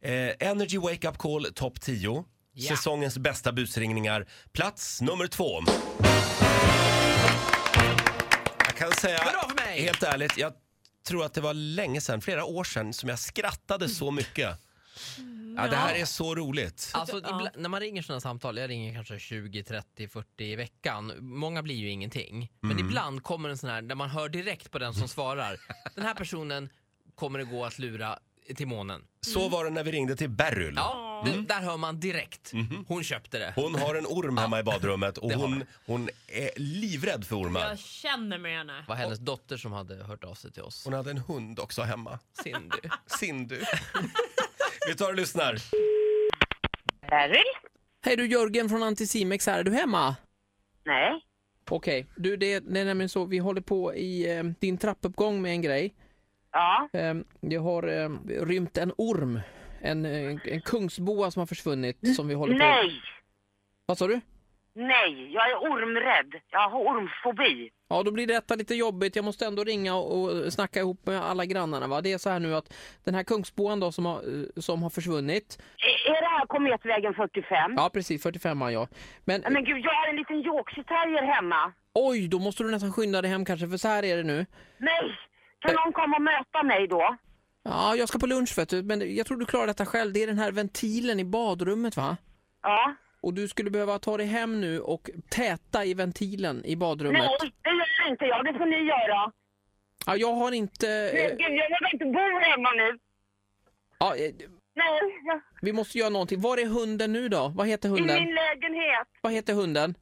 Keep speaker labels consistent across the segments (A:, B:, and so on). A: Eh, Energy Wake Up Call topp 10.
B: Ja.
A: Säsongens bästa busringningar. Plats nummer två. Jag kan säga,
B: Hurra för mig!
A: helt ärligt, jag tror att det var länge sedan, flera år sedan, som jag skrattade så mycket. Ja, det här är så roligt.
B: Alltså,
C: Ja.
B: ibla- när man ringer sådana samtal, jag ringer kanske 20, 30, 40 i veckan. Många blir ju ingenting. Men ibland kommer en sån här, där man hör direkt på den som svarar. Den här personen kommer det gå att lura till månen.
A: Så var det när vi ringde till Beryl.
B: Ja, det- där hör man direkt. Hon köpte det.
A: Hon har en orm hemma i badrummet och
B: det har
A: hon, hon är livrädd för ormar.
C: Jag känner med henne.
B: Det var hennes dotter som hade hört av sig till oss.
A: Hon hade en hund också hemma.
B: Cindy.
A: Sindu. Vi tar och lyssnar.
D: Beryl?
B: Hej du Jörgen från Anticimex här, är du hemma?
D: Nej.
B: Okej, du det, det är nämligen så, vi håller på i eh, din trappuppgång med en grej.
D: Ja.
B: Ehm, Det har ehm, rymt en orm. En, eh, en kungsboa som har försvunnit som vi håller på...
D: Nej.
B: Vad sa du?
D: Nej. Jag är ormrädd. Jag har ormfobi.
B: Ja, då blir detta lite jobbigt. Jag måste ändå ringa och och snacka ihop med alla grannarna. Va? Det är så här nu att den här kungsboan då som har, eh, som har försvunnit.
D: E, Är- Är det här Kometvägen 45?
B: Ja, precis. 45 ja. Men
D: Nej, Men gud, jag har en liten Yorkshire terrier hemma.
B: oj, då måste du nästan skynda dig hem kanske, för så här är det nu.
D: Nej! Kan någon komma och möta mig då?
B: Ja, jag ska på lunch vet du, men jag tror du klarar detta själv. Det är den här ventilen i badrummet va?
D: Ja.
B: Och du skulle behöva ta dig hem nu och täta i ventilen i badrummet.
D: Nej, det gör inte jag. Det får ni göra.
B: Ja, jag har inte...
D: Nej,
B: eh,
D: gud, jag vågar inte bo hemma nu.
B: Ja, eh,
D: Nej, jag,
B: vi måste göra någonting. Var är hunden nu då? Vad heter
D: i
B: hunden?
D: min lägenhet.
B: Vad heter hunden?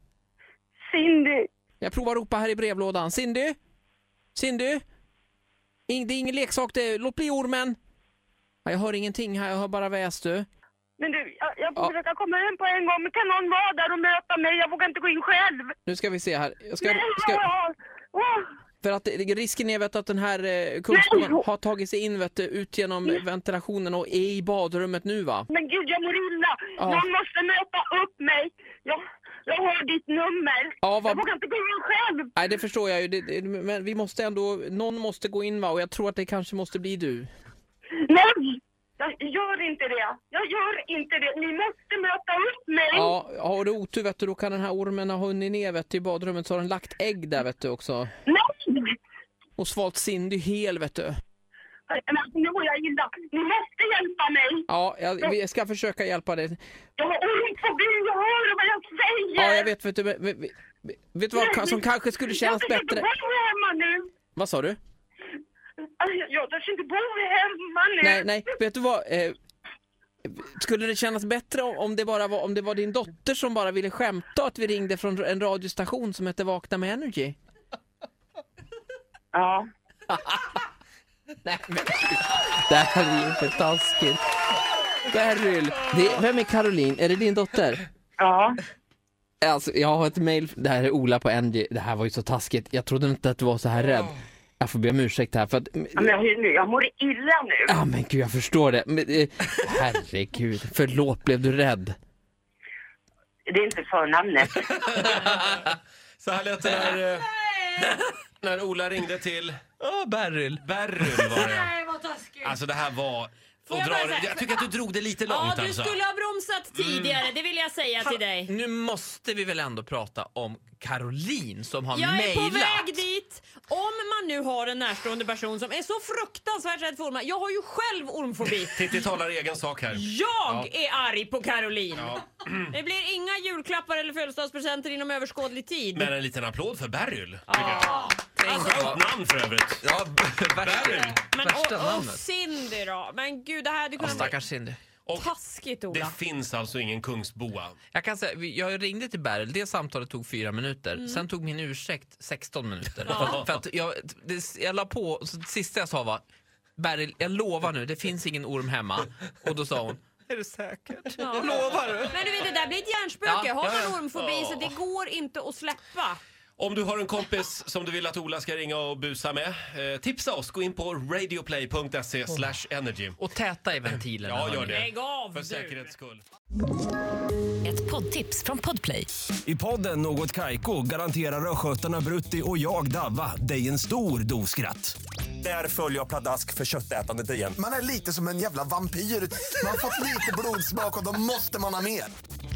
D: Cindy.
B: Jag provar att ropa här i brevlådan. Cindy? Cindy? In, det är ingen leksak det. är- Låt bli ormen! Ja, jag hör ingenting här. Jag hör bara väs du.
D: Men du, jag, jag får
B: Ja.
D: försöka komma hem på en gång. Men kan någon vara där och möta mig? Jag vågar inte gå in själv.
B: Nu ska vi se här. Jag ska,
D: Nej,
B: ska,
D: jag- Åh.
B: för att det- risken är vet, du, att den här eh, kungsboan har tagit sig in vet, du, ut genom ventilationen och är i badrummet nu va?
D: Men gud, jag mår illa.
B: Ja.
D: Någon måste möta upp mig. Jag, jag har ditt nummer.
B: Ja, vad-
D: Jag vågar inte gå in själv.
B: Nej, det förstår jag ju. Det, det, men vi måste ändå... Någon måste gå in va? Och jag tror att det kanske måste bli du.
D: Nej! Jag gör inte det. Jag gör inte det. Ni måste möta upp mig.
B: Ja, har du otur vet du, då kan den här ormen ha hunnit ner vet du, i badrummet så har den lagt ägg där vet du också.
D: Nej!
B: Och svalt Cindy hel vet du.
D: Men alltså, nu mår jag illa. Ni måste hjälpa mig.
B: Ja, jag, vi ska försöka hjälpa dig.
D: Jag har ormfobi. Jag hör vad jag säger.
B: Ja, jag vet vet du, men- men- men- vet du vad som kanske skulle kännas
D: jag Jag
B: bättre?
D: törs inte bo hemma nu.
B: Vad sa du?
D: Aj, Jag törs inte bo hemma nu.
B: Nej, nej, vet du vad? Eh, skulle det kännas bättre om- om det bara var, om det var din dotter som bara ville skämta och att vi ringde från en radiostation som hette Vakna med Energy?
D: Ja.
B: Nej men gud. Det här är ju för taskigt. Beryl, det, vem är Caroline? Är det din dotter?
D: Ja.
B: Alltså jag har ett mail, det här är Ola på NG, det här var ju så taskigt, jag trodde inte att du var så här rädd. Jag får be om ursäkt här för att,
D: Ja, Men jag, nu- jag mår illa nu.
B: ja men gud jag förstår det. Men, eh, herregud, förlåt blev du rädd?
D: Det är inte förnamnet.
A: Så här lät det när, eh, när Ola ringde till
B: Ja, Beryl.
A: Beryl var det.
C: Nej, vad taskigt.
A: Alltså det här var...
C: Får
A: och
C: jag bara
A: dra,
C: säga-
A: jag tycker att du drog det lite
C: ja,
A: långt
C: du
A: alltså.
C: skulle ha bromsat
B: Mm.
C: tidigare, det vill jag säga till dig.
B: Nu måste vi väl ändå prata om Caroline som har
C: Jag är på väg dit. Om man nu har en närstående person som är så fruktansvärt rädd för ormar. Jag har ju själv ormfobi.
A: Titti talar i egen sak här.
C: Jag är arg på Caroline. Det blir inga julklappar eller födelsedagspresenter inom överskådlig tid.
A: Men en liten applåd för Beryl.
C: Ja.
A: Skönt Alltså, namn för övrigt.
B: Ja, verkligen.
C: Men och, och Cindy då? Men gud, det här hade kunnat bli
B: Cindy.
A: Och
C: taskigt
A: det
C: Ola.
A: finns alltså ingen kungsboa.
B: Jag kan säga, vi- jag ringde till Beryl, det samtalet tog fyra minuter, sen tog min ursäkt 16 minuter. För att jag, det, jag la på, så det sista jag sa var Beryl, jag lovar nu, det finns ingen orm hemma. Och då sa hon, är du säker? Lovar du?
C: Men du vet, det där blir ett hjärnspöke.
B: Ja,
C: har
B: ja,
C: man
B: ja.
C: ormfobi så det går inte att släppa.
A: Om du har en kompis som du vill att Ola ska ringa och busa med, eh, tipsa oss. Gå in på radioplay.se slash energy.
B: Och täta i ventilerna.
A: Ja, gör
B: hörni.
A: det.
C: Lägg av
A: För
C: du.
A: säkerhets skull.
E: Ett poddtips från Podplay.
F: I podden Något Kaiko garanterar östgötarna Brutti och jag, Davva, dig en stor dos skratt.
A: Där följer jag pladask för köttätandet igen.
G: Man är lite som en jävla vampyr. Man har fått lite blodsmak och då måste man ha mer.